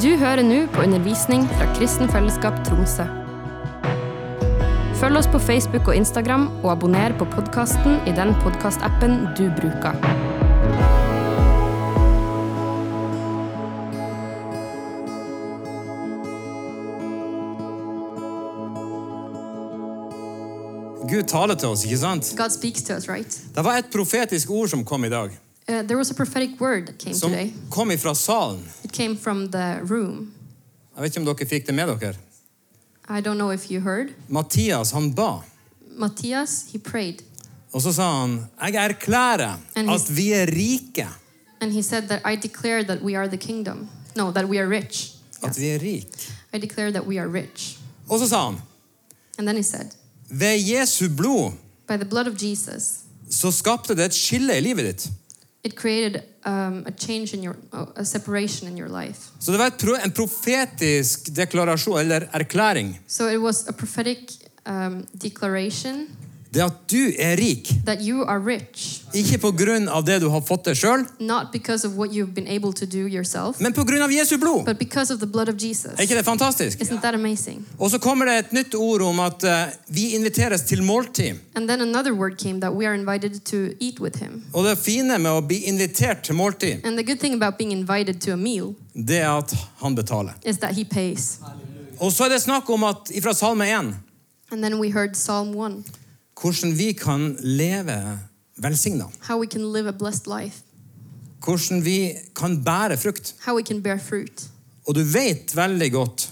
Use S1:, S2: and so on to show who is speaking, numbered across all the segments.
S1: Du hører nå på undervisning fra Kristen Fellesskap Tromsø. Følg oss på Facebook og Instagram, og abonner på podkasten i den podkastappen du bruker.
S2: Gud taler til oss, ikke sant?
S1: God speaks to us, right?
S2: Det var et profetisk ord som kom i dag.
S1: Uh, there was a prophetic word that came
S2: Som
S1: today.
S2: kom ifra salen.
S1: It came from the room.
S2: Jeg vet ikke om dere fikk det med dere.
S1: I don't know if you heard.
S2: Mathias, han ba.
S1: Matthias, he prayed,
S2: Og så sa han, jeg erklærer
S1: And he-
S2: at vi er rike.
S1: and he said that I declare that we are the kingdom. No, that we are rich.
S2: At vi er rike.
S1: I declare that we are rich.
S2: Og så sa han,
S1: And then he said,
S2: ved Jesu blod
S1: by the blood of Jesus,
S2: så skapte det et skille i livet ditt.
S1: it created um, a change in your, oh, a separation in your life.
S2: Så det var et pro en profetisk deklarasjon, eller erklæring.
S1: So it was a prophetic um, declaration
S2: Det at du er rik,
S1: that you are rich,
S2: ikke på grunn av det du har fått til selv,
S1: not because of what you've been able to do yourself,
S2: men på grunn av Jesu blod.
S1: but because of the blood of
S2: Er
S1: Jesus.
S2: ikke det fantastisk?
S1: Isn't that amazing?
S2: Og så kommer det et nytt ord om at eh, vi inviteres til måltid.
S1: And then another word came that we are invited to eat with him.
S2: Og det fine med å bli invitert til måltid,
S1: And the good thing about being invited to a meal
S2: det er at han betaler.
S1: is that he pays.
S2: Og så er det snakk om at fra Salme 1
S1: And then we heard Psalm 1
S2: hvordan vi kan leve velsigna.
S1: how we can live a blessed life,
S2: Hvordan vi kan bære frukt.
S1: how we can bear fruit.
S2: Og du vet veldig godt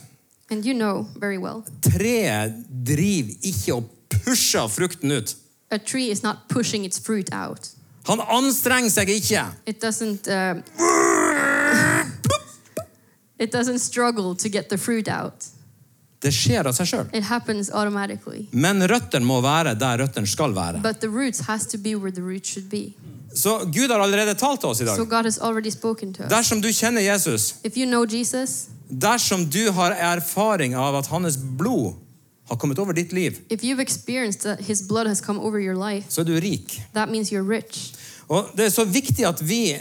S1: And you know very well,
S2: treet driver ikke og pusher frukten ut.
S1: a tree is not pushing its fruit out.
S2: Han anstrenger seg ikke.
S1: It doesn't. Uh, it doesn't struggle to get the fruit out.
S2: Det skjer av seg sjøl.
S1: It happens automatically.
S2: Men røttene må være der røttene skal være.
S1: But the roots has to be where the roots should be.
S2: Så Gud har allerede talt til oss i dag.
S1: So God has already spoken to us.
S2: Dersom du kjenner Jesus,
S1: If you know Jesus,
S2: Dersom du har erfaring av at hans blod har kommet over ditt liv,
S1: if you've experienced that His blood has come over your life,
S2: så er du rik.
S1: that means you're rich.
S2: Og Det er så viktig at vi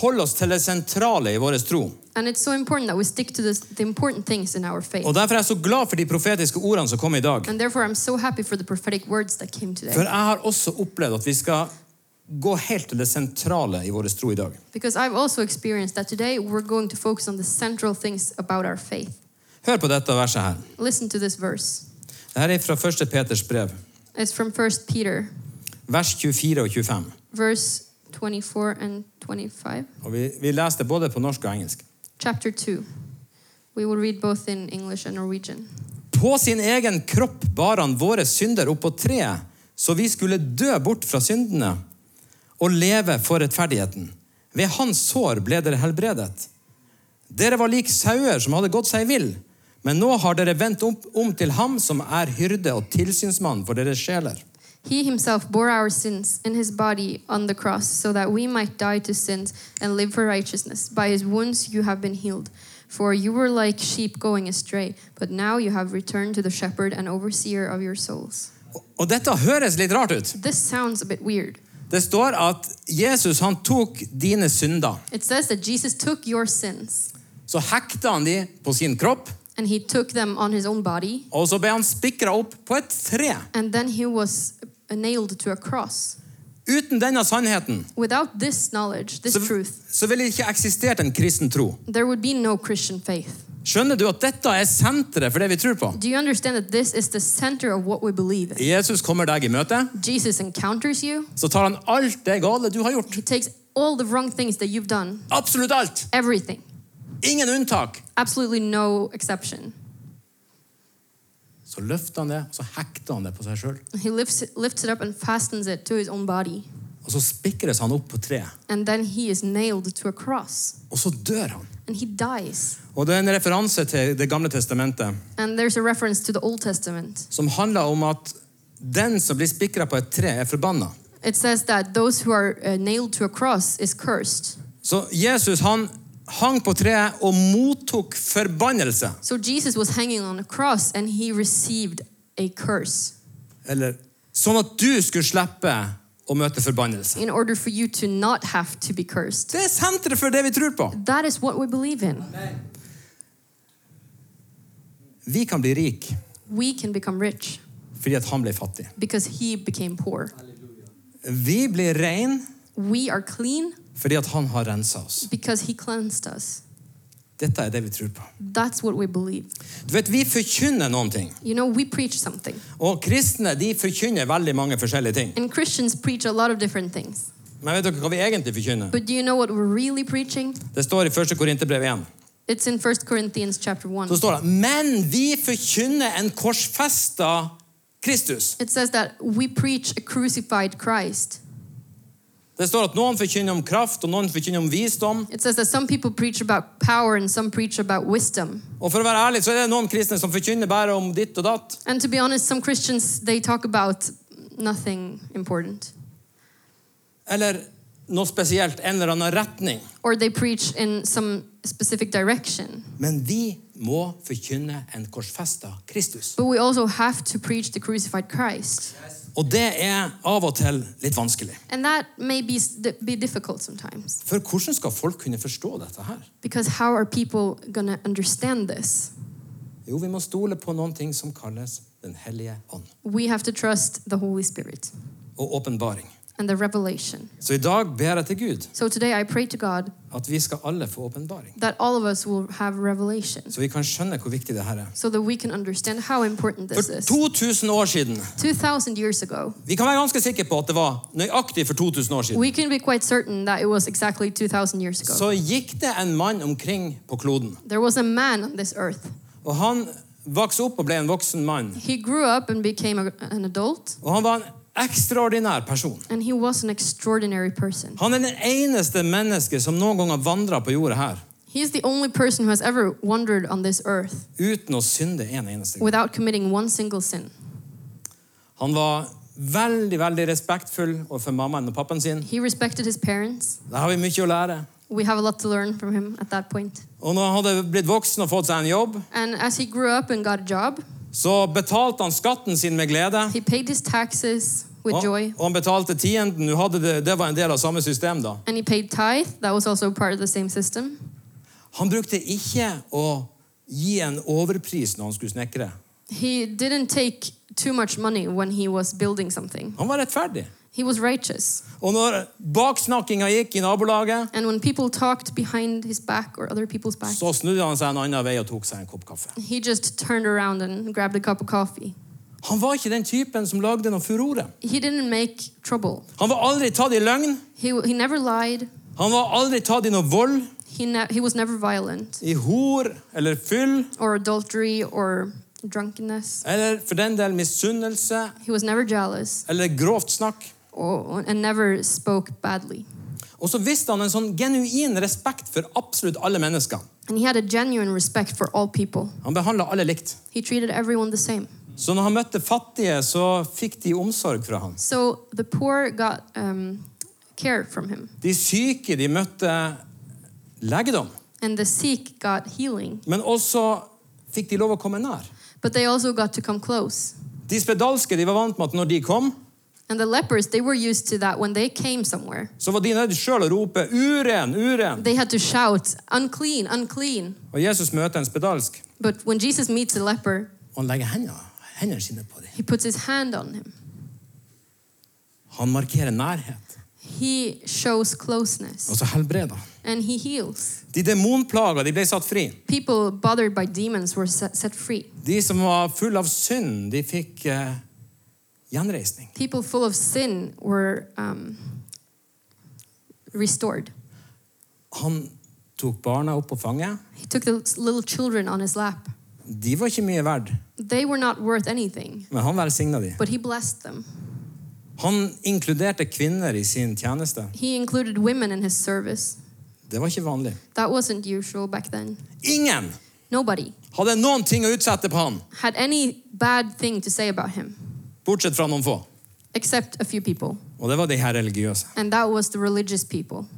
S2: holder oss til det sentrale i vår tro.
S1: And it's so important that we stick to this, the important things in our faith.
S2: Og Derfor er jeg så glad for de profetiske ordene som kom i dag.
S1: And therefore, I'm so happy for the prophetic words that came today.
S2: For jeg har også opplevd at vi skal gå helt til det sentrale i vår tro i dag.
S1: Because I've also experienced that today we're going to focus on the central things about our faith.
S2: Hør på dette verset her.
S1: Listen to this verse.
S2: Dette er fra 1. Peters brev,
S1: It's from 1 Peter,
S2: vers 24 og 25.
S1: verse 24 and 25,
S2: Og Vi, vi leser det både på norsk og engelsk.
S1: chapter 2. We will read both in English and Norwegian.
S2: På sin egen kropp bar han våre synder opp på treet, så vi skulle dø bort fra syndene og leve for rettferdigheten. Ved hans sår ble dere helbredet. Dere var lik sauer som hadde gått seg vill, men nå har dere vendt opp om til ham som er hyrde og tilsynsmann for deres sjeler.
S1: He himself bore our sins in his body on the cross so that we might die to sins and live for righteousness. By his wounds you have been healed. For you were like sheep going astray, but now you have returned to the shepherd and overseer of your souls.
S2: Og- Og dette høres litt rart ut.
S1: This sounds a bit weird.
S2: Det står at Jesus han tok dine synder,
S1: It says that Jesus took your sins
S2: så hekta han de på sin kropp,
S1: and he took them on his own body,
S2: og så ble han spikra opp på et tre.
S1: and then he was nailed to a cross.
S2: Uten denne sannheten
S1: Without this knowledge, this
S2: så,
S1: truth,
S2: så ville det ikke eksistert en kristen tro.
S1: there would be no Christian faith.
S2: Skjønner du at dette er senteret for det vi tror på?
S1: Do you understand that this is the center of what we believe in?
S2: Jesus kommer deg i møte,
S1: Jesus encounters you,
S2: så tar han alt det gale du har gjort.
S1: he takes all the wrong things that you've done,
S2: Absolutt alt.
S1: everything,
S2: Ingen unntak.
S1: absolutely no exception.
S2: Så løfter han det, så hekter han det på seg sjøl.
S1: He lifts, lifts it up and fastens it to his own body,
S2: Og så spikres han opp på treet.
S1: and then he is nailed to a cross
S2: Og så dør han.
S1: and he dies.
S2: Og Det er en referanse til Det gamle testamentet
S1: And there's a reference to the Old Testament.
S2: som handler om at den som blir spikra på et tre, er forbanna.
S1: It says that those who are uh, nailed to a cross is cursed.
S2: Så Jesus han hang på treet og mottok forbannelse.
S1: So Jesus was hanging on a cross and he received a curse
S2: Eller sånn at du skulle slippe å møte forbannelse.
S1: in order for you to not have to be cursed.
S2: Det er senteret for det vi tror på.
S1: That is what we believe in.
S2: Vi kan bli rik
S1: We can become rich
S2: fordi at han ble fattig.
S1: because he became poor.
S2: Vi blir rein
S1: We are clean
S2: fordi at han har rensa oss.
S1: because he cleansed us.
S2: Dette er det vi tror på.
S1: That's what we believe.
S2: Du vet, Vi forkynner noen ting.
S1: You know, we preach something,
S2: Og kristne de forkynner veldig mange forskjellige ting.
S1: and Christians preach a lot of different things.
S2: Men vet dere hva vi egentlig forkynner?
S1: But do you know what we're really preaching?
S2: Det står i 1. Korinterbrev 1.
S1: It's in 1 Corinthians chapter 1.
S2: Så står det Men vi forkynner en korsfesta Kristus.
S1: It says that we preach a crucified Christ.
S2: Det står at noen forkynner om kraft, og noen forkynner om visdom.
S1: It says that some people preach about power and some preach about wisdom.
S2: Og for å være ærlig, så er det noen kristne som forkynner bare om ditt og datt.
S1: And to be honest, some Christians they talk about nothing important
S2: Eller noe spesielt, en eller annen retning.
S1: or they preach in some specific direction.
S2: Men vi må forkynne en korsfesta Kristus.
S1: But we also have to preach the crucified Christ.
S2: Og det er av og til litt vanskelig.
S1: And that may be, be difficult sometimes
S2: For hvordan skal folk kunne forstå dette her?
S1: because how are people going to understand this?
S2: Jo, vi må stole på noen ting som kalles Den hellige ånd
S1: We have to trust the Holy Spirit
S2: og åpenbaring.
S1: and the revelation.
S2: Så i dag ber jeg til Gud
S1: So today I pray to God
S2: at vi skal alle få åpenbaring.
S1: that all of us will have revelation
S2: Så vi kan skjønne hvor viktig det her er.
S1: so that we can understand how important
S2: For
S1: this is.
S2: 2000 år siden
S1: 2,000 years ago,
S2: Vi kan være ganske sikre på at det var nøyaktig for 2000 år siden.
S1: we can be quite certain that it was exactly 2,000 years ago.
S2: Så gikk det en mann omkring på kloden.
S1: there was a man on this earth.
S2: Og han vokste opp og ble en voksen mann.
S1: He grew up and became a, an adult,
S2: Og han var en ekstraordinær person.
S1: and he was an extraordinary person.
S2: Han er den eneste mennesket som noen gang har vandra på jorda her
S1: He is the only person who has ever wandered on this earth
S2: uten å synde en eneste gang.
S1: without committing one single sin.
S2: Han var veldig veldig respektfull overfor mammaen og pappaen sin.
S1: He respected his parents.
S2: Der har vi mye å lære.
S1: We have a lot to learn from him at that point.
S2: Og når han hadde blitt voksen og fått seg en jobb,
S1: And as he grew up and got a job,
S2: så betalte han skatten sin med glede.
S1: he paid his taxes with
S2: Og,
S1: joy.
S2: og han betalte tienden. Hun hadde det, det var en del av samme system, da.
S1: And he paid tithe. That was also part of the same system.
S2: Han brukte ikke å gi en overpris når han skulle snekre.
S1: He didn't take too much money when he was building something.
S2: Han var rettferdig.
S1: He was righteous.
S2: Og når baksnakkinga gikk i nabolaget,
S1: And when people talked behind his back or other people's back,
S2: så snudde han seg en annen vei og tok seg en kopp kaffe.
S1: he just turned around and grabbed a cup of coffee.
S2: Han var ikke den typen som lagde noe furore.
S1: He didn't make trouble.
S2: Han var aldri tatt i løgn.
S1: He, he never lied.
S2: Han var aldri tatt i noe vold,
S1: He, ne- he was never violent
S2: i hor eller fyll,
S1: or adultery or drunkenness.
S2: eller for den del misunnelse
S1: He was never jealous
S2: eller grovt snakk.
S1: or, and never spoke badly.
S2: Og så viste han en sånn genuin respekt for absolutt alle mennesker.
S1: And he had a genuine respect for all people.
S2: Han behandla alle likt.
S1: He treated everyone the same.
S2: Så når han møtte fattige, så fikk de omsorg fra han.
S1: So the poor got um, care from him,
S2: De syke de møtte legedom,
S1: and the sick got healing,
S2: men også fikk de lov å komme nær.
S1: but they also got to come close.
S2: De spedalske de var vant med at når de kom,
S1: And the lepers, they were used to that when they came somewhere.
S2: så var de nødt sjøl å rope 'uren, uren'.
S1: They had to shout, unclean, unclean.
S2: Og Jesus møter en spedalsk,
S1: But when Jesus meets a leper,
S2: og han legger hendene, hendene sine på dem.
S1: he puts his hand on him.
S2: Han markerer nærhet,
S1: He shows closeness
S2: og så helbreder han.
S1: and he heals.
S2: De demonplaga de ble satt fri.
S1: People bothered by demons were set, set free.
S2: De som var full av synd, de fikk eh, gjenreisning.
S1: People full of sin were um, restored.
S2: Han tok barna opp på fanget.
S1: He took the little children on his lap.
S2: De var ikke mye verd,
S1: They were not worth anything,
S2: men han velsigna de.
S1: but he blessed them.
S2: Han inkluderte kvinner i sin tjeneste.
S1: He included women in his service.
S2: Det var ikke vanlig.
S1: That wasn't usual back then.
S2: Ingen
S1: Nobody
S2: hadde noen ting å utsette på han,
S1: had any bad thing to say about him,
S2: bortsett fra noen få.
S1: except a few people,
S2: Og det var de her religiøse.
S1: and that was the religious people.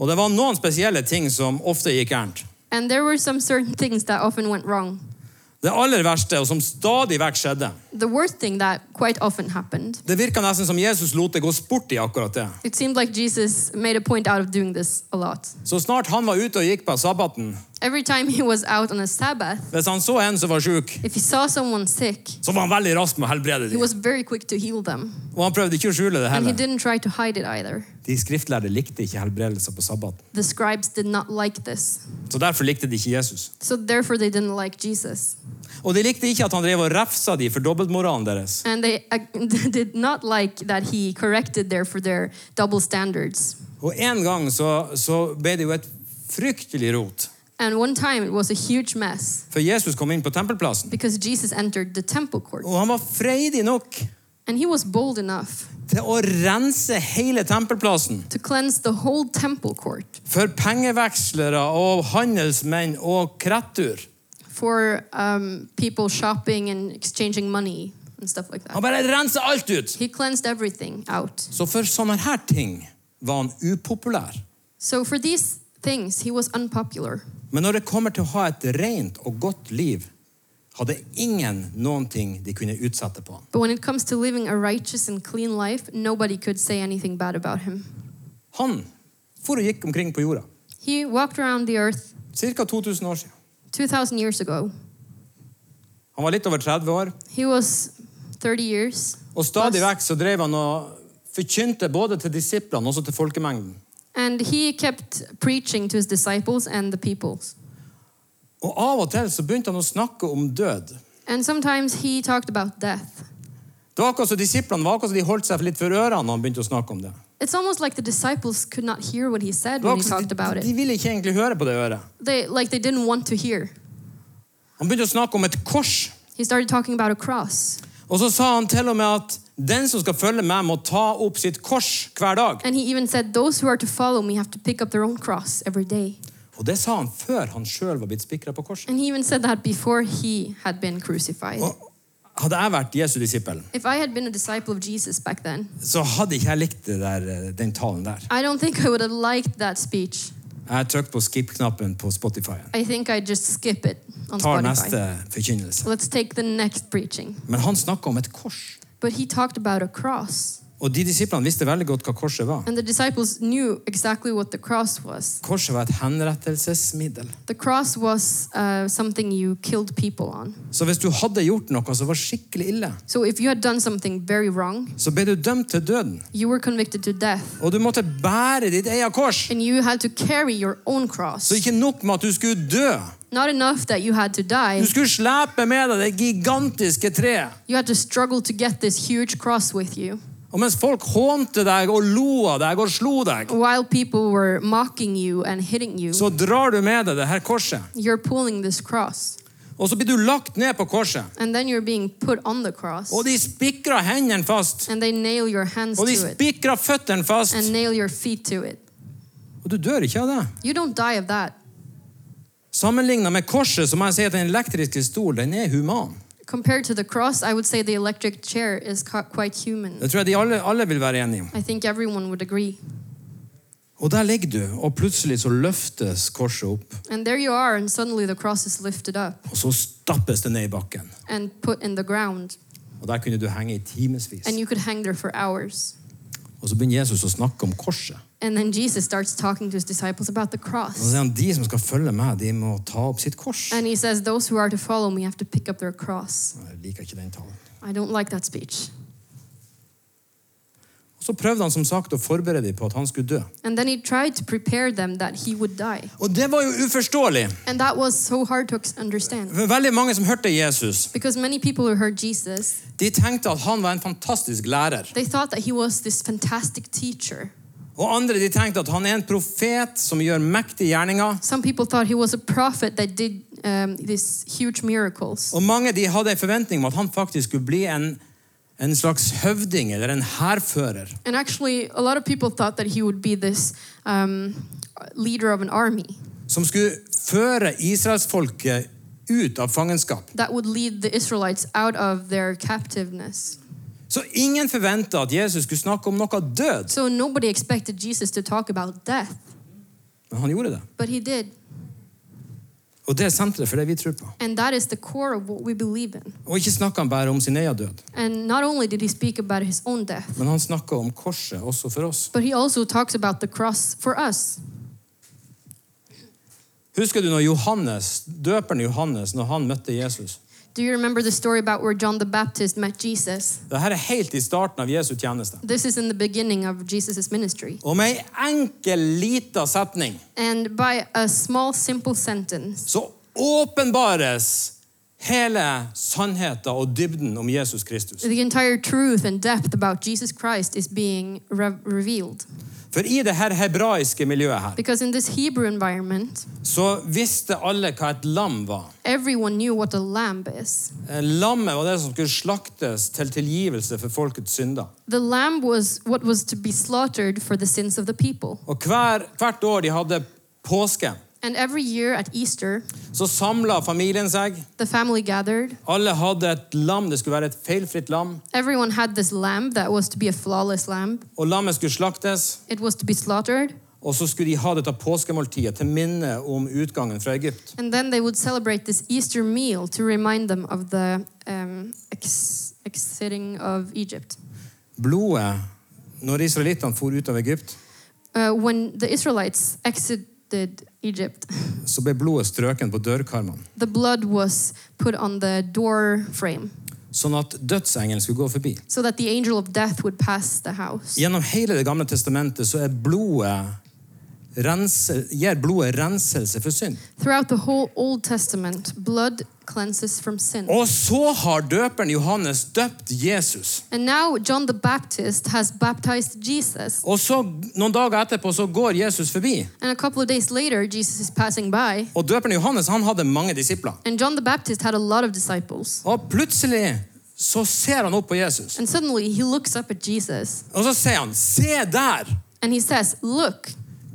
S2: Og det var noen spesielle ting som ofte gikk gærent.
S1: And there were some certain things that often went wrong.
S2: Det aller verste, og som stadig vekk skjedde.
S1: The worst thing that quite often happened,
S2: Det virka nesten som Jesus lot det gå sport i akkurat det.
S1: it seemed like Jesus made a point out of doing this a lot.
S2: Så snart han var ute og gikk på sabbaten,
S1: Every time he was out on a Sabbath,
S2: hvis han så en som var sjuk,
S1: if he saw someone sick,
S2: så var han veldig rask med å helbrede
S1: he
S2: dem.
S1: was very quick to heal them.
S2: Og han prøvde ikke å skjule det
S1: And he
S2: heller.
S1: didn't try to hide it either.
S2: De skriftlærde likte ikke helbredelser på sabbaten.
S1: The scribes did not like this.
S2: Så derfor likte de ikke Jesus.
S1: So therefore, they didn't like Jesus.
S2: Og de likte ikke at han drev og refsa de for dobbeltmoralen deres.
S1: And they uh, did not like that he corrected there for their double standards.
S2: Og en gang så, så ble det jo et fryktelig rot.
S1: And one time it was a huge mess
S2: For Jesus kom inn på tempelplassen.
S1: because Jesus entered the temple court.
S2: Og han var freidig nok
S1: And he was bold enough
S2: til å rense hele tempelplassen
S1: to cleanse the whole temple court
S2: for pengevekslere og handelsmenn og krettur.
S1: for um, people shopping and exchanging money and stuff like that.
S2: Han bare rensa alt ut.
S1: He cleansed everything out.
S2: Så for sånne her ting var han upopulær.
S1: So for these things, he was unpopular.
S2: Men når det kommer til å ha et rent og godt liv, hadde ingen noen ting de kunne utsette på han.
S1: But when it comes to living a righteous and clean life, nobody could say anything bad about him.
S2: Han for og gikk omkring på jorda
S1: He walked around the earth
S2: ca. 2000 år siden.
S1: 2,000 years ago.
S2: Han var litt over 30 år,
S1: He was 30 years.
S2: og stadig vekk så drev han og forkynte både til disiplene og også til folkemengden.
S1: And he kept preaching to his disciples and the peoples.
S2: Og av og til så begynte han å snakke om død.
S1: And sometimes he talked about death.
S2: Det var akkurat som disiplene var akkurat som de holdt seg litt for ørene når han begynte å snakke om det.
S1: It's almost like the disciples could not hear what he said
S2: det var
S1: when he
S2: akkurat, som
S1: talked about
S2: de, de
S1: it.
S2: ville ikke egentlig høre på det øret.
S1: They like they didn't want to hear.
S2: Han begynte å snakke om et kors.
S1: He started talking about a cross.
S2: Og så sa han til og med at den som skal følge meg, må ta opp sitt kors hver dag.
S1: And he even said those who are to follow me have to pick up their own cross every day.
S2: Og det sa han før han sjøl var blitt spikra på korset.
S1: And he even said that before he had been crucified.
S2: Og hadde jeg vært Jesu disippel,
S1: If I had been a disciple of Jesus back then,
S2: så hadde ikke jeg likt det der, eh, den talen der.
S1: I don't think I would have liked that speech.
S2: Jeg trykket på skip-knappen på Spotify.
S1: I think I'd just skip it on
S2: Tar
S1: Spotify.
S2: neste forkynnelse.
S1: Let's take the next preaching.
S2: Men han snakka om et kors.
S1: But he talked about a cross.
S2: Og de disiplene visste veldig godt hva korset var.
S1: And the disciples knew exactly what the cross was.
S2: Korset var et henrettelsesmiddel.
S1: The cross was uh, something you killed people on.
S2: Så hvis du hadde gjort noe som var skikkelig ille,
S1: So if you had done something very wrong,
S2: så ble du dømt til døden.
S1: you were convicted to death.
S2: Og du måtte bære ditt eget kors.
S1: And you had to carry your own cross.
S2: Så ikke nok med at du skulle dø.
S1: Not enough that you had to die,
S2: Du skulle slepe med deg det gigantiske treet.
S1: you had to struggle to get this huge cross with you.
S2: Og mens folk hånte deg og lo av deg og slo deg,
S1: While people were mocking you and hitting you,
S2: så drar du med deg det her korset.
S1: you're pulling this cross.
S2: Og så blir du lagt ned på korset.
S1: And then you're being put on the cross.
S2: Og de spikra hendene fast.
S1: And they nail your hands
S2: Og de
S1: to it.
S2: spikra føttene
S1: And
S2: fast.
S1: nail your feet to it.
S2: Og du dør ikke av det.
S1: You don't die of that.
S2: Sammenligna med korset, så må jeg si at den elektriske stol, den er human.
S1: Compared to the cross, I would say the electric chair is cu- quite human.
S2: Det tror jeg de alle, alle vil være enige om.
S1: I think everyone would agree.
S2: Og der ligger du, og plutselig så løftes korset opp.
S1: And there you are, and suddenly the cross is lifted up
S2: Og så stappes det ned i bakken.
S1: and put in the ground.
S2: Og der kunne du henge i timevis.
S1: And you could hang there for hours.
S2: Og så begynner Jesus å snakke om korset.
S1: And then Jesus starts talking to his disciples about the
S2: Og så
S1: cross.
S2: sier han, De som skal følge meg, de må ta opp sitt kors.
S1: And he says, Those who are to follow me have to pick up their cross.
S2: Jeg liker ikke den talen.
S1: I don't like that speech.
S2: Og Så prøvde han som sagt å forberede dem på at han skulle dø.
S1: And then he tried to prepare them that he would die.
S2: Og Det var jo uforståelig.
S1: And that was so hard to ex- understand.
S2: For Veldig Mange som hørte Jesus,
S1: Because many people who heard Jesus,
S2: de tenkte at han var en fantastisk lærer.
S1: they thought that he was this fantastic teacher.
S2: Og andre de tenkte at han er en profet som gjør mektige gjerninger.
S1: Some people thought he was a prophet that did um, these huge miracles.
S2: Og mange de hadde en forventning om at han faktisk skulle bli en, en slags høvding eller en hærfører.
S1: And actually, a lot of people thought that he would be this um, leader of an army
S2: Som skulle føre israelsfolket ut av fangenskap.
S1: that would lead the Israelites out of their captiveness.
S2: Så ingen forventa at Jesus skulle snakke om noe død.
S1: So nobody expected Jesus to talk about death,
S2: Men han gjorde det.
S1: but he did.
S2: Og det er senteret for det vi tror på.
S1: And that is the core of what we believe in.
S2: Og ikke snakker han bare om sin egen død,
S1: And not only did he speak about his own death,
S2: men han snakker om korset også for oss.
S1: but he also talks about the cross for us.
S2: Husker du når Johannes, døperen Johannes når han møtte Jesus?
S1: Do you remember the story about where John the Baptist met Jesus?
S2: Dette er helt i starten av Jesu tjeneste.
S1: This is in the beginning of Jesus' ministry.
S2: Og med ei enkel, lita setning
S1: And by a small, simple sentence,
S2: så åpenbares hele sannheten og dybden om Jesus Kristus.
S1: the entire truth and depth about Jesus Christ is being re- revealed.
S2: For i det her hebraiske miljøet her,
S1: Because in this Hebrew environment,
S2: så visste alle hva et lam var.
S1: everyone knew what a lamb is.
S2: Eh, Lammet var det som skulle slaktes til tilgivelse for folkets synder.
S1: The lamb was what was to be slaughtered for the sins of the people.
S2: Og hver, hvert år de hadde påske,
S1: And every year at Easter,
S2: så samla familien seg.
S1: the family gathered.
S2: Alle hadde et lam. Det skulle være et feilfritt lam.
S1: Everyone had this lamb that was to be a flawless lamb.
S2: Og lammet skulle slaktes.
S1: It was to be slaughtered.
S2: Og så skulle de ha dette påskemåltidet til minne om utgangen fra Egypt.
S1: And then they would celebrate this Easter meal to remind them of the um, ex- exiting of Egypt.
S2: Blodet, når israelittene for ut av Egypt,
S1: Uh, when the Israelites exited Egypt,
S2: så ble blodet strøken på dørkarmene.
S1: the blood was put on the door frame
S2: Sånn at dødsengelen skulle gå forbi.
S1: so that the angel of death would pass the house.
S2: Gjennom hele Det gamle testamentet så er blodet rense, gir blodet renselse for synd.
S1: Throughout the whole Old Testament, blood cleanses from sin.
S2: Og så har døperen Johannes døpt Jesus.
S1: And now John the Baptist has baptized Jesus.
S2: Og så Noen dager etterpå så går Jesus forbi.
S1: And a couple of days later, Jesus is passing by.
S2: Og døperen Johannes han hadde mange disipler.
S1: And John the Baptist had a lot of disciples.
S2: Og plutselig så ser han opp på Jesus.
S1: And suddenly he looks up at Jesus
S2: Og så sier han, se der!
S1: and he says, Look,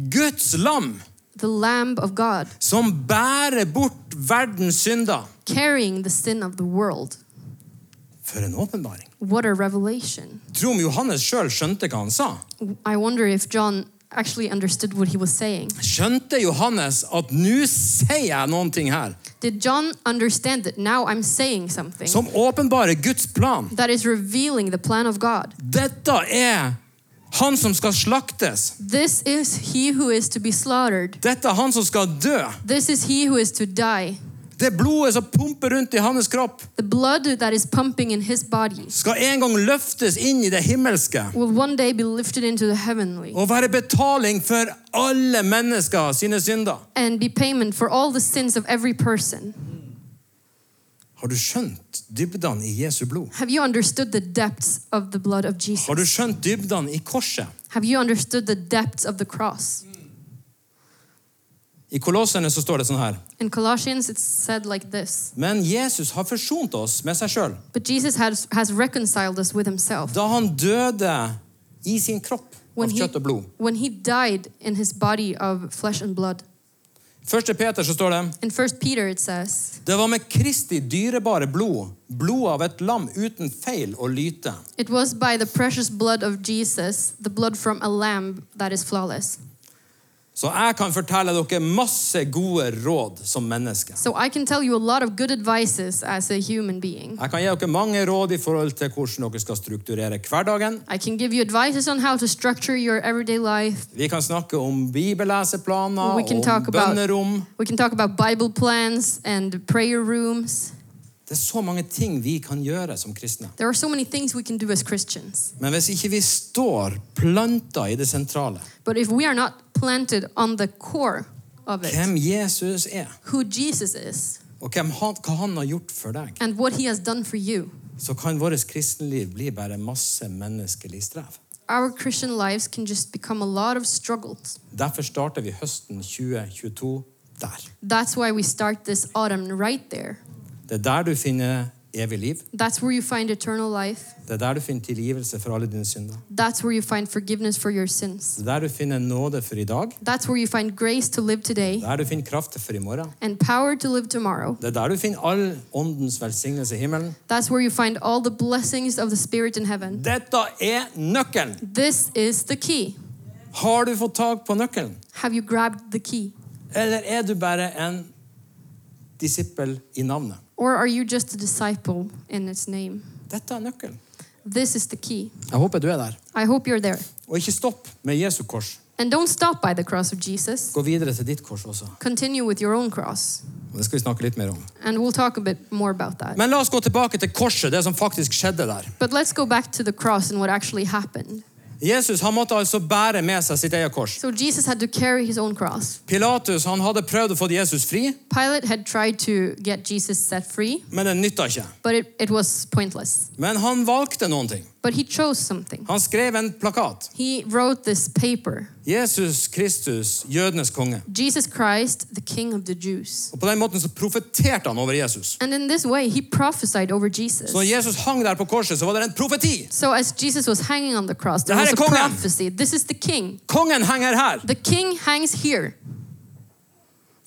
S2: Guds lam
S1: the Lamb of God
S2: som bærer bort verdens synder.
S1: carrying the sin of the world.
S2: For en åpenbaring.
S1: What a revelation.
S2: Tro om Johannes sjøl skjønte hva han sa.
S1: I wonder if John actually understood what he was saying.
S2: Skjønte Johannes at nå sier jeg noen ting her
S1: Did John understand that now I'm saying something
S2: som åpenbarer Guds plan?
S1: that is revealing the plan of God?
S2: Dette er han som skal slaktes.
S1: This is he who is to be slaughtered.
S2: Dette er han som skal dø.
S1: This is he who is to die.
S2: Det blodet som pumper rundt i hans kropp,
S1: The blood that is pumping in his body
S2: skal en gang løftes inn i det himmelske.
S1: will one day be lifted into the heavenly
S2: og være betaling for alle mennesker sine synder.
S1: and be payment for all the sins of every person.
S2: Har du skjønt dybdene i Jesu blod?
S1: Have you understood the depths of the blood of
S2: Har du
S1: Jesus?
S2: skjønt dybdene i korset?
S1: Have you understood the depths of the cross?
S2: I Kolossene så står det sånn her.
S1: In Colossians, it's said like this
S2: Men Jesus har forsont oss med seg sjøl
S1: But Jesus has, has reconciled us with himself.
S2: da han døde i sin kropp
S1: When
S2: av
S1: he,
S2: kjøtt og blod.
S1: when he died in his body of flesh and blood.
S2: 1. Peter så står det
S1: In 1 Peter, it says,
S2: det var med Kristi dyrebare blod, blod av et lam uten feil og lyte.
S1: It was by the precious blood of Jesus, the blood from a lamb that is flawless.
S2: Så jeg kan fortelle dere masse gode råd som menneske.
S1: So I can tell you a lot of good advices as a human being.
S2: Jeg kan gi dere mange råd i forhold til hvordan dere skal strukturere hverdagen.
S1: I can give you advices on how to structure your everyday life.
S2: Vi kan snakke om bibelleseplaner,
S1: We can
S2: om
S1: talk about
S2: bønnerom.
S1: we can talk about Bible plans and prayer rooms.
S2: Det er så mange ting vi kan gjøre som kristne.
S1: There are so many things we can do as Christians.
S2: Men hvis ikke vi står planta i det sentrale,
S1: But if we are not planted on the core of it,
S2: hvem Jesus er,
S1: who Jesus is
S2: og hvem han, hva han har gjort for deg,
S1: and what he has done for you,
S2: så kan vårt kristenliv bli bare masse menneskelig strev.
S1: our Christian lives can just become a lot of struggles.
S2: Derfor starter vi høsten 2022 der.
S1: That's why we start this autumn right there.
S2: Det er der du finner evig liv.
S1: That's where you find eternal life.
S2: Det er der du finner tilgivelse for alle dine synder.
S1: That's where you find forgiveness for your sins.
S2: Det er der du finner nåde for i dag.
S1: That's where you find grace to live
S2: Det
S1: today
S2: er der du finner kraft for i morgen.
S1: and power to live tomorrow.
S2: Det er der du finner all åndens velsignelse i himmelen.
S1: That's where you find all the blessings of the Spirit in heaven.
S2: Dette er nøkkelen.
S1: This is the key.
S2: Har du fått tak på nøkkelen?
S1: Have you grabbed the key?
S2: Eller er du bare en disippel i navnet.
S1: Or are you just a disciple in its name?
S2: Dette er nøkkelen.
S1: This is the key.
S2: Jeg håper du er der.
S1: I hope you're there.
S2: Og ikke stopp med Jesu kors.
S1: And don't stop by the cross of Jesus.
S2: Gå videre til ditt kors også.
S1: Continue with your own cross.
S2: Og Det skal vi snakke litt mer om.
S1: And we'll talk a bit more about that.
S2: Men la oss gå tilbake til korset, det som faktisk skjedde der.
S1: But let's go back to the cross and what actually happened.
S2: Jesus han måtte altså bære med seg sitt eget kors.
S1: So Jesus had to carry his own cross.
S2: Pilatus han hadde prøvd å få Jesus fri,
S1: Pilate had tried to get Jesus set free,
S2: men det nytta ikke.
S1: but it, it was pointless.
S2: Men han valgte noen ting.
S1: But he chose something.
S2: Han skrev en plakat.
S1: He wrote this paper
S2: Jesus Kristus, jødenes konge.
S1: Jesus Christ, the King of the Jews.
S2: Og På den måten så profeterte han over Jesus.
S1: And in this way, he prophesied over Jesus.
S2: Så når Jesus hang der på korset, så var det en profeti.
S1: So as Jesus was hanging on the cross, there
S2: Det
S1: was
S2: här
S1: a
S2: är kungen.
S1: prophecy. This is the king.
S2: Kongen henger her!
S1: The king hangs here.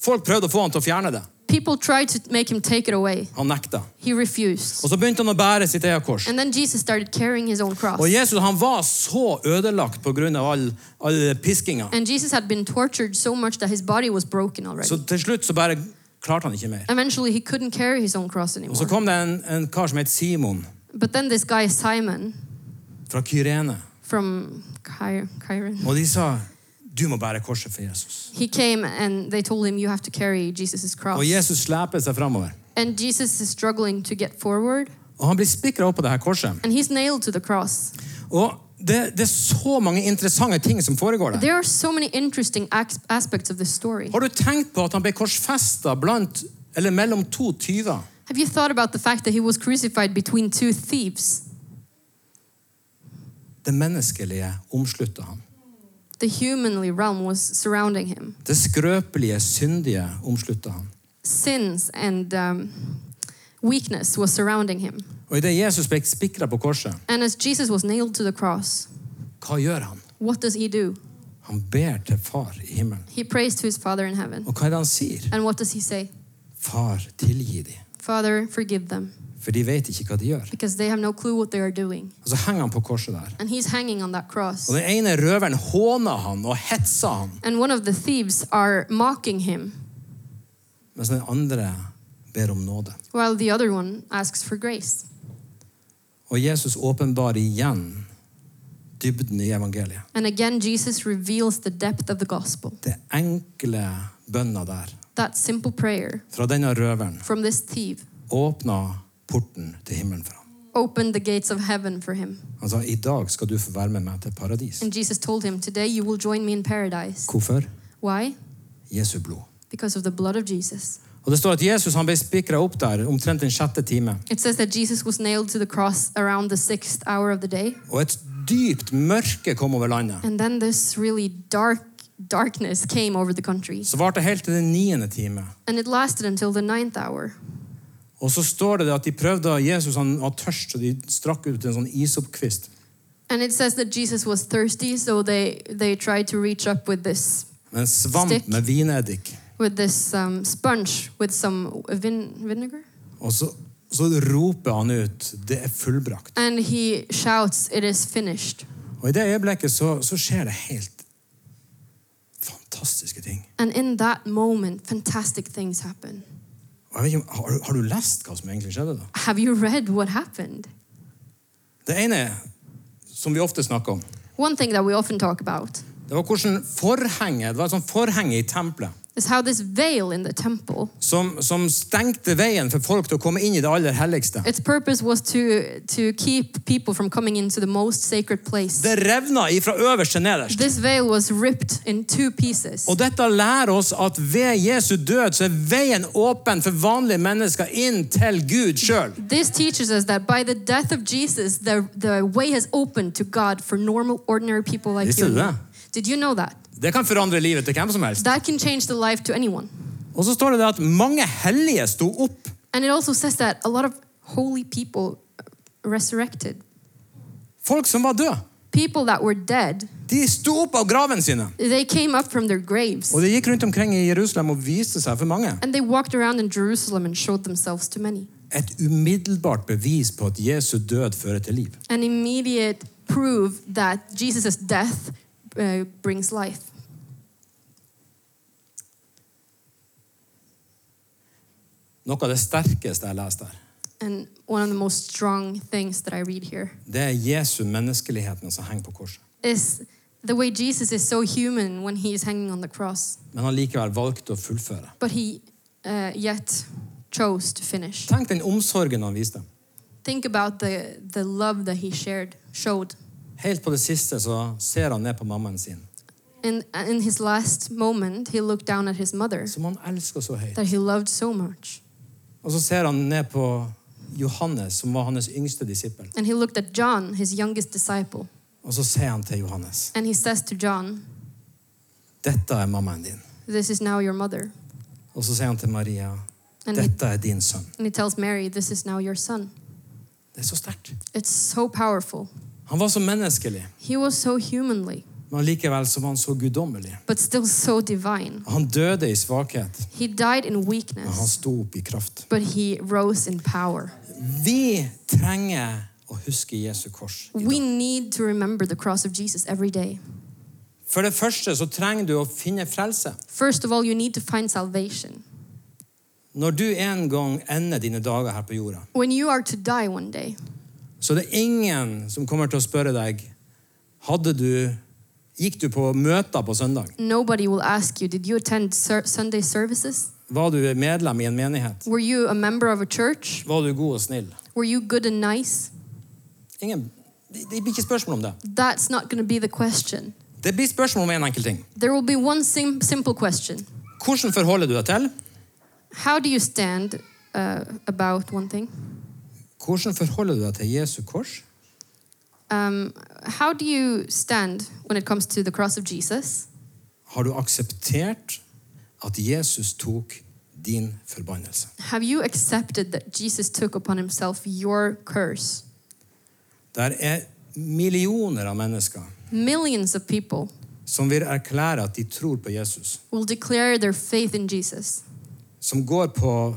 S2: Folk prøvde å få han til å fjerne det.
S1: People tried to make him take it away.
S2: Han nekta.
S1: He refused.
S2: Og så begynte han å bære sitt eget kors.
S1: And then Jesus started carrying his own cross.
S2: Og Jesus han var så ødelagt pga. all, all piskinga.
S1: And Jesus had been tortured so much that his body was broken already.
S2: Så til slutt så bare klarte han ikke mer.
S1: Eventually, he couldn't carry his own cross
S2: Og så
S1: anymore.
S2: kom det en, en kar som het Simon
S1: But then this guy, Simon
S2: fra Kyrene.
S1: from Ky- Kyron,
S2: Og de sa du må bære korset for Jesus.
S1: he came and they told him, You have to carry Jesus' cross.
S2: Og Jesus sleper seg framover.
S1: And Jesus is struggling to get forward
S2: Og han blir spikra opp på det her korset.
S1: and he's nailed to the cross.
S2: Og det, det er så mange interessante ting som foregår der.
S1: There are so many interesting ac- aspects of this story.
S2: Har du tenkt på at han ble korsfesta blant eller mellom to tyver?
S1: Have you thought about the fact that he was crucified between two thieves?
S2: Det menneskelige omslutta han.
S1: The humanly realm was surrounding him.
S2: Det skrøpelige, syndige omslutta han.
S1: Sins and um, weakness was surrounding him.
S2: Og idet Jesus ble spikra på korset,
S1: And as Jesus was nailed to the cross,
S2: hva gjør han?
S1: what does he do?
S2: Han ber til far i himmelen.
S1: He prays to his Father in heaven.
S2: Og hva er det han sier?
S1: And what does he say?
S2: Far, tilgi de,
S1: Father, forgive them,
S2: for de vet ikke hva de gjør.
S1: because they have no clue what they are doing.
S2: Og så henger han på korset der.
S1: And he's hanging on that cross.
S2: Og den ene røveren håner han og hetser han,
S1: And one of the thieves are mocking him,
S2: mens den andre ber om nåde.
S1: while the other one asks for grace.
S2: Og Jesus åpenbarer igjen dybden i evangeliet.
S1: And again, Jesus reveals the depth of the gospel.
S2: Det enkle bønna der,
S1: That simple prayer
S2: fra denne røveren,
S1: from this thief
S2: åpna porten til himmelen for ham.
S1: opened the gates of heaven for him.
S2: Han sa, i dag skal du få være med meg til paradis.
S1: And Jesus told him, Today you will join me in paradise.
S2: Hvorfor?
S1: Why?
S2: Jesu blod.
S1: Because of the blood of Jesus.
S2: Og det står at Jesus han ble spikra opp der omtrent den sjette time.
S1: It says that Jesus was nailed to the cross around the sixth hour of the day.
S2: Og et dypt mørke kom over landet.
S1: And then this really dark darkness came over the country.
S2: Så varte det helt til den niende time.
S1: And it lasted until the ninth hour.
S2: Og så står det det at de prøvde Jesus han var tørst, så de strakk ut en sånn isoppkvist.
S1: And it says that Jesus was thirsty, so they, they tried to reach up with this
S2: En svamp
S1: Stikk.
S2: med vineddik.
S1: with this um, sponge with some vin- vinegar.
S2: Og så, så roper han ut 'Det er fullbrakt'.
S1: And he shouts, It is finished.
S2: Og i det øyeblikket så, så skjer det helt fantastiske ting.
S1: And in that moment, fantastic things happen.
S2: Og jeg vet ikke, om- har, har du lest hva som egentlig skjedde? da?
S1: Have you read what happened?
S2: Det ene som vi ofte snakker om,
S1: One thing that we often talk about
S2: det var hvordan forhenget Det var et sånt forhenge i tempelet.
S1: is how this veil in the temple,
S2: som, som stengte veien for folk til å komme inn i det aller helligste.
S1: its purpose was to, to keep people from coming into the most sacred place.
S2: Det revna ifra øverst til nederst.
S1: This veil was ripped in two pieces.
S2: Og dette lærer oss at ved Jesu død så er veien åpen for vanlige mennesker inn til Gud sjøl.
S1: This teaches us that by the death of Jesus, the, the way has opened to God for normal, ordinary people like
S2: Visste
S1: you.
S2: du
S1: and me.
S2: det?
S1: Did you know that?
S2: Det kan forandre livet til hvem som helst.
S1: That can change the life to anyone.
S2: Og så står det det at mange hellige sto opp.
S1: And it also says that a lot of holy people resurrected.
S2: Folk som var døde.
S1: People that were dead,
S2: De sto opp av graven sine.
S1: they came up from their graves
S2: Og de gikk rundt omkring i Jerusalem og viste seg for mange.
S1: and they walked around in Jerusalem and showed themselves to many.
S2: Et umiddelbart bevis på at Jesu død fører til liv.
S1: An immediate proof that Jesus' death uh, brings life.
S2: Noe av det sterkeste jeg leste her,
S1: And one of the most strong things that I read here
S2: det er Jesu menneskeligheten som henger på korset.
S1: is the way Jesus is so human when he is hanging on the cross,
S2: Men han likevel valgte å fullføre.
S1: but he uh, yet chose to finish.
S2: Tenk den omsorgen han viste.
S1: Think about the, the love that he shared, showed.
S2: Helt på det siste så ser han ned på mammaen sin,
S1: And in his last moment, he looked down at his mother
S2: som han elsker så høyt.
S1: that he loved so much.
S2: Og så ser han ned på Johannes, som var hans yngste disippel.
S1: And he looked at John, his youngest disciple,
S2: Og så sier han til Johannes,
S1: and he says to John,
S2: dette er mammaen din.
S1: This is now your mother.
S2: Og så sier han til Maria,
S1: And he,
S2: dette er din sønn.
S1: and he tells Mary, This is now your son.
S2: Det er så sterkt.
S1: It's so powerful.
S2: Han var så menneskelig,
S1: He was so humanly,
S2: men likevel så var han så guddommelig.
S1: but still so divine.
S2: Han døde i svakhet,
S1: He died in
S2: men han
S1: weakness,
S2: sto opp i kraft.
S1: but he rose in power.
S2: Vi trenger å huske Jesu kors.
S1: We
S2: i dag.
S1: need to remember the cross of Jesus every day.
S2: For det første så trenger du å finne frelse.
S1: First of all, you need to find salvation.
S2: Når du en gang ender dine dager her på jorda,
S1: When you are to die one day,
S2: så det er ingen som kommer til å spørre deg hadde du, Gikk du på møter på søndag?
S1: nobody will ask you, Did you attend ser- Sunday services?
S2: Var du medlem i en menighet?
S1: Were you a member of a church?
S2: Var du god og snill?
S1: Were you good and nice?
S2: Ingen, det det blir ikke spørsmål om det.
S1: That's not going to be the question.
S2: Det blir spørsmål om en enkel ting.
S1: There will be one sim- simple question
S2: Hvordan forholder du deg til?
S1: How do you stand uh, about one thing?
S2: Hvordan forholder du deg til Jesu kors?
S1: Um, how do you stand when it comes to the cross of Jesus?
S2: Har du akseptert at Jesus tok din forbannelse?
S1: Have you accepted that Jesus took upon himself your curse?
S2: Der er millioner av mennesker
S1: Millions of people
S2: som vil erklære at de tror på Jesus,
S1: will declare their faith in Jesus.
S2: som går på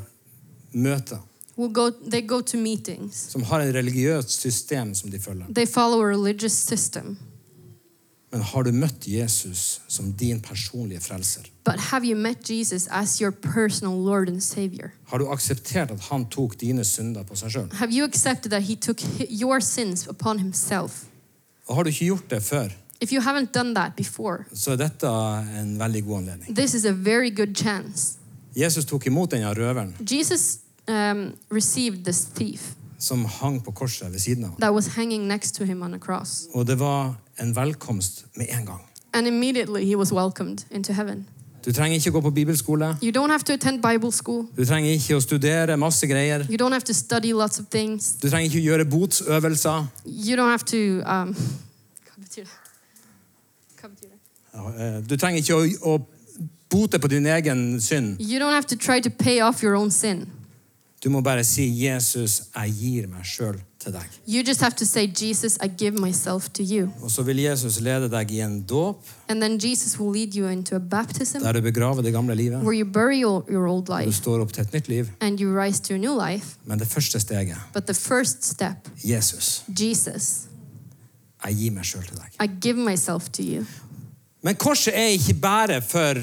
S2: møter,
S1: Will go, they go to meetings,
S2: som har en religiøst system som de følger.
S1: they follow a religious system.
S2: Men har du møtt Jesus som din personlige frelser?
S1: But have you met Jesus as your personal Lord and Savior?
S2: Har du akseptert at han tok dine synder på seg sjøl?
S1: Have you accepted that He took hi- your sins upon Himself?
S2: Og har du ikke gjort det før,
S1: If you haven't done that before,
S2: så er dette en veldig god anledning.
S1: this is a very good chance.
S2: Jesus tok imot denne røveren
S1: Jesus um, received this thief
S2: som hang på korset ved siden av ham.
S1: that was hanging next to him on a cross,
S2: Og det var en velkomst med en gang.
S1: and immediately he was welcomed into heaven.
S2: Du trenger ikke gå på bibelskole.
S1: You don't have to attend Bible school,
S2: Du trenger ikke å studere masse greier.
S1: you don't have to study lots of things,
S2: Du trenger ikke å gjøre botsøvelser.
S1: you don't have to. Um, Hva betyr det? Hva betyr det?
S2: Ja, eh, Du trenger ikke å, å bote på din egen synd.
S1: you don't have to try to pay off your own sin.
S2: Du må bare si 'Jesus, jeg gir meg sjøl til deg'.
S1: You just have to say, Jesus, I give myself to you.
S2: Og så vil Jesus lede deg i en dåp
S1: And then Jesus will lead you into a baptism
S2: der du begraver det gamle livet.
S1: where you bury your, your old
S2: Du
S1: life
S2: står opp til et nytt liv.
S1: and you rise to a new life.
S2: Men det første steget
S1: But the first step,
S2: Jesus,
S1: Jesus,
S2: jeg gir meg sjøl til deg.
S1: I give myself to you.
S2: Men korset er ikke bare for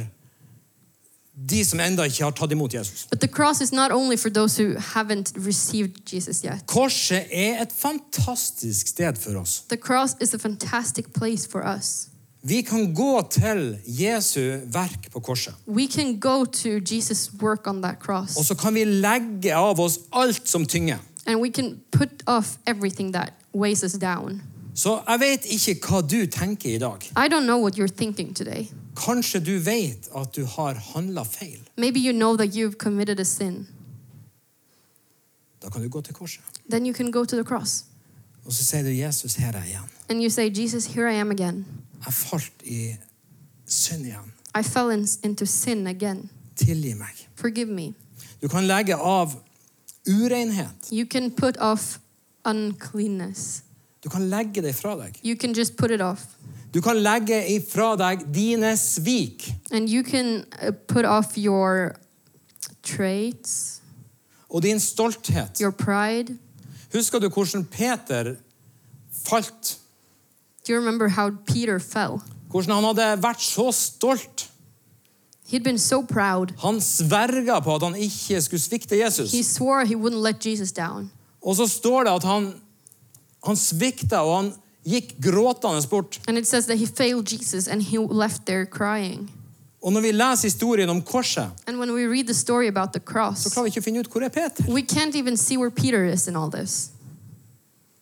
S2: de som ennå ikke har tatt imot Jesus.
S1: But the cross is not only for those who haven't received Jesus yet.
S2: Korset er et fantastisk sted for oss.
S1: The cross is a fantastic place for us.
S2: Vi kan gå til Jesu verk på korset.
S1: We can go to Jesus' work on that
S2: Og
S1: cross
S2: så kan vi legge av oss alt som tynger.
S1: and we can put off everything that weighs us down.
S2: Så jeg vet ikke hva du tenker i dag.
S1: I don't know what you're thinking today.
S2: Kanskje du vet at du har handla feil.
S1: Maybe you know that you've committed a sin.
S2: Da kan du gå til korset.
S1: Then you can go to the cross
S2: Og så sier du, 'Jesus, her er jeg igjen.
S1: and you say, Jesus, here I am again.
S2: Jeg falt i synd igjen.
S1: I fell in, into sin again.
S2: Tilgi meg.'
S1: Forgive me.
S2: Du kan legge av urenhet.
S1: You can put off uncleanness.
S2: Du kan legge det fra deg.
S1: You can just put it off.
S2: Du kan legge ifra deg dine svik.
S1: And you can uh, put off your traits,
S2: og din stolthet.
S1: your pride.
S2: Husker du hvordan Peter falt?
S1: Do you remember how Peter fell?
S2: Hvordan han hadde vært så stolt
S1: He'd been so proud.
S2: Han sverga på at han ikke skulle svikte Jesus.
S1: He swore he wouldn't let Jesus down.
S2: Og så står det at han, han svikta, og han gikk gråtende bort.
S1: And it says that he failed Jesus and he left there crying.
S2: Og når vi leser historien om korset,
S1: And when we read the story about the
S2: så
S1: cross,
S2: klarer vi ikke å finne ut hvor er Peter.
S1: we can't even see where Peter is in all this.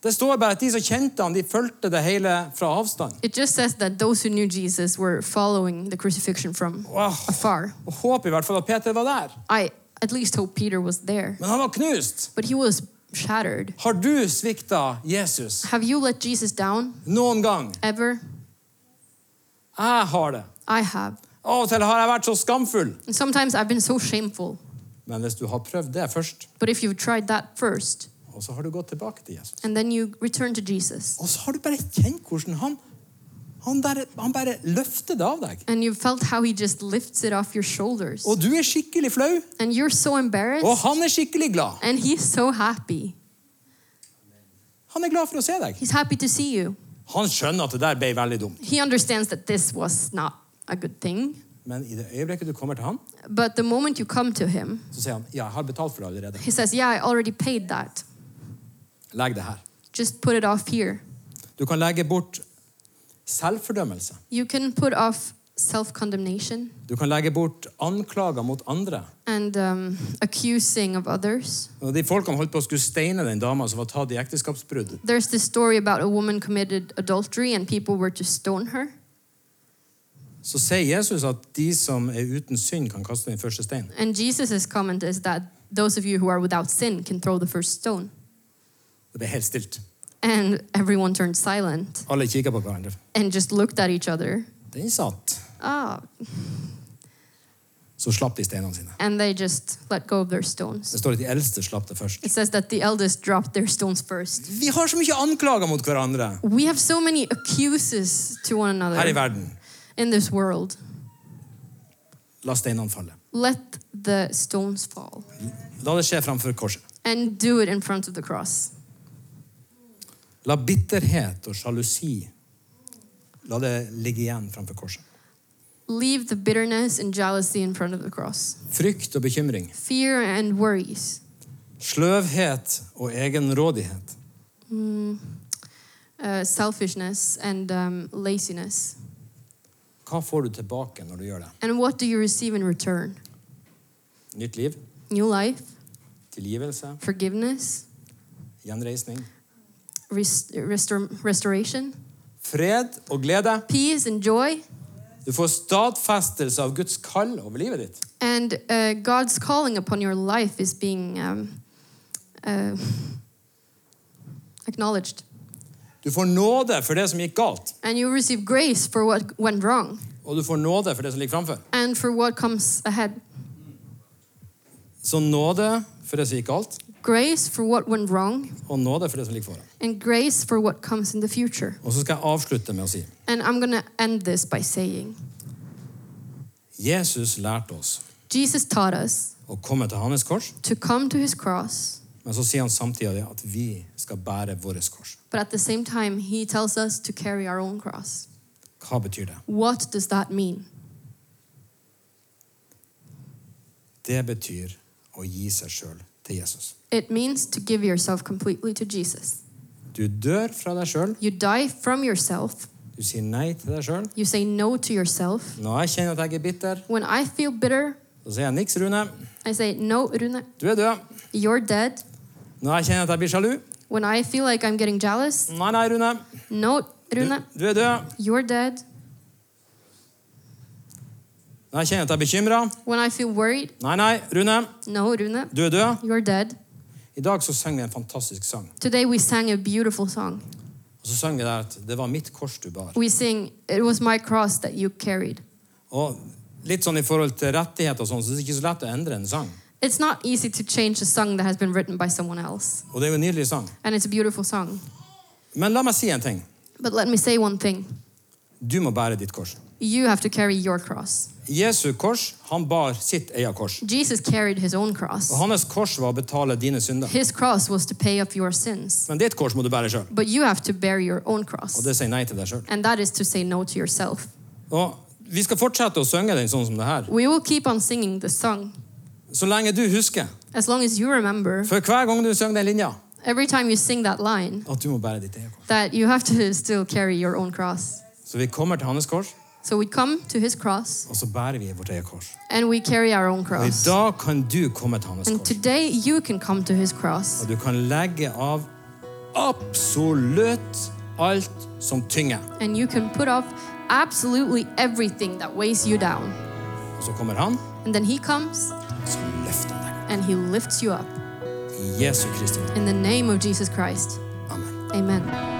S2: Det står bare at de som kjente han, de fulgte det hele fra avstand.
S1: It just says that those who knew Jesus were following the crucifixion from
S2: Wow.
S1: afar.
S2: Og håper i hvert fall at Peter var der.
S1: I at least hope Peter was there.
S2: Men han var knust.
S1: But he was shattered.
S2: Har du svikta Jesus
S1: Have you let Jesus down
S2: noen gang?
S1: ever?
S2: Jeg har det.
S1: I have.
S2: Av og til har jeg vært så skamfull.
S1: And sometimes I've been so shameful.
S2: Men hvis du har prøvd det først,
S1: But if you've tried that first
S2: og så har du gått tilbake til Jesus
S1: and then you return to Jesus
S2: Og så har du bare kjent hvordan han han bare, han bare løfter det av deg.
S1: and you felt how he just lifts it off your shoulders
S2: Og du er skikkelig flau,
S1: and you're so embarrassed
S2: og han er skikkelig glad.
S1: and he's so happy.
S2: Han er glad for å se deg.
S1: He's happy to see you.
S2: Han skjønner at det der ble veldig dumt.
S1: He understands that this was not a good thing.
S2: Men i det øyeblikket du kommer til han,
S1: But the moment you come to him,
S2: så sier han ja, jeg har betalt for det allerede.
S1: he says, Yeah, I already paid that.
S2: Legg det her.
S1: Just put it off here.
S2: Du kan legge bort selvfordømmelse.
S1: You can put off self condemnation
S2: Du kan legge bort anklager mot andre.
S1: and um, accusing of others.
S2: Og de folkene holdt på å skulle steine den dama som var tatt i ekteskapsbrudd.
S1: There's this story about a woman committed adultery and people were to stone her.
S2: Så sier Jesus at de som er uten synd, kan kaste den første steinen.
S1: And Jesus' comment is that those of you who are without sin can throw the first stone.
S2: Det ble helt stilt.
S1: And everyone turned silent
S2: Alle kikker på hverandre.
S1: and just looked at each other.
S2: Den satt.
S1: Ah,
S2: Så slapp de steinene sine.
S1: and they just let go of their stones.
S2: Det står at de eldste slapp det først.
S1: It says that the eldest dropped their stones first.
S2: Vi har så mye anklager mot hverandre
S1: We have so many accuses to one
S2: her i
S1: another
S2: verden.
S1: in this world.
S2: La steinene falle.
S1: Let the stones fall
S2: La det skje framfor korset.
S1: and do it in front of the cross.
S2: La bitterhet og sjalusi La det ligge igjen framfor korset.
S1: Leave the bitterness and jealousy in front of the cross.
S2: Frykt og bekymring.
S1: Fear and worries.
S2: Sløvhet og egenrådighet.
S1: uh, selfishness and um, laziness.
S2: Hva får du tilbake når du gjør det?
S1: And what do you receive in return?
S2: Nytt liv,
S1: New life,
S2: tilgivelse,
S1: forgiveness,
S2: gjenreisning.
S1: rest- restor- restoration,
S2: Fred og glede.
S1: peace and joy,
S2: Du får stadfestelse av Guds kall over livet ditt.
S1: and uh, God's calling upon your life is being um, uh, acknowledged.
S2: Du får nåde for det som gikk galt,
S1: And you receive grace for what went wrong
S2: og du får nåde for det som ligger framfor.
S1: and for what comes ahead.
S2: Så nåde for det som gikk galt,
S1: Grace for what went wrong,
S2: og nåde for det som ligger foran.
S1: and grace for what comes in the future.
S2: Og så skal jeg avslutte med å si
S1: And I'm going to end this by saying
S2: Jesus lærte oss
S1: Jesus taught us
S2: å komme til hans kors,
S1: to come to his cross,
S2: men så sier han samtidig at vi skal bære vårt kors.
S1: but at the same time, he tells us to carry our own cross.
S2: Hva betyr det?
S1: What does that mean?
S2: Det betyr å gi seg sjøl til Jesus.
S1: It means to give yourself completely to Jesus.
S2: Du dør fra deg sjøl.
S1: You die from yourself,
S2: Du sier nei til deg sjøl.
S1: you say no to yourself.
S2: Når jeg kjenner at jeg er bitter,
S1: When I feel bitter,
S2: så sier jeg niks, Rune.
S1: I say, No, Rune,
S2: Du er død.
S1: you're dead.
S2: Når jeg kjenner at jeg blir sjalu,
S1: When I feel like I'm getting jealous,
S2: nei, nei, Rune.
S1: no,
S2: Du,
S1: Rune,
S2: du er død.
S1: you're dead.
S2: Når jeg kjenner at jeg er bekymra,
S1: When I feel worried,
S2: nei, nei, Rune.
S1: no, Rune,
S2: Du er død.
S1: you're dead.
S2: I dag så sang vi en fantastisk sang.
S1: Today we sang a beautiful song.
S2: Og så sang vi der at det var mitt kors du bar.
S1: We sing, It was my cross that you carried.
S2: Og litt sånn i forhold til rettigheter og sånn, så er det ikke så lett å endre en sang.
S1: It's not easy to change a song that has been written by someone else.
S2: Og det er jo en nydelig sang.
S1: And it's a beautiful song.
S2: Men la meg si en ting.
S1: But let me say one thing
S2: Du må bære ditt kors.
S1: you have to carry your cross.
S2: Jesu kors, han bar sitt eget kors.
S1: Jesus carried his own
S2: Og
S1: cross.
S2: hans kors var å betale dine synder.
S1: His cross was to pay off your sins.
S2: Men ditt kors må du bære sjøl.
S1: But you have to bear your own
S2: Og
S1: cross.
S2: det sier nei til deg sjøl.
S1: And that is to say no to yourself.
S2: Og vi skal fortsette å synge den sånn som det her.
S1: We will keep on singing the song
S2: Så lenge du husker.
S1: as long as you remember
S2: For hver gang du synger den linja,
S1: every time you sing that line
S2: at du må bære ditt eget kors.
S1: that you have to still carry your own cross.
S2: Så vi kommer til hans kors,
S1: So we come to his cross
S2: og så bærer vi vårt eget kors.
S1: and we carry our own
S2: Og i
S1: cross.
S2: dag kan du komme til hans
S1: And
S2: kors.
S1: today you can come to his cross
S2: Og du kan legge av absolutt alt som tynger.
S1: and you can put off absolutely everything that weighs you down.
S2: Og så kommer han,
S1: And then he comes
S2: så løfter han deg.
S1: and he lifts you up.
S2: I Jesu Kristi navn.
S1: In the name of Jesus Christ.
S2: Amen.
S1: Amen.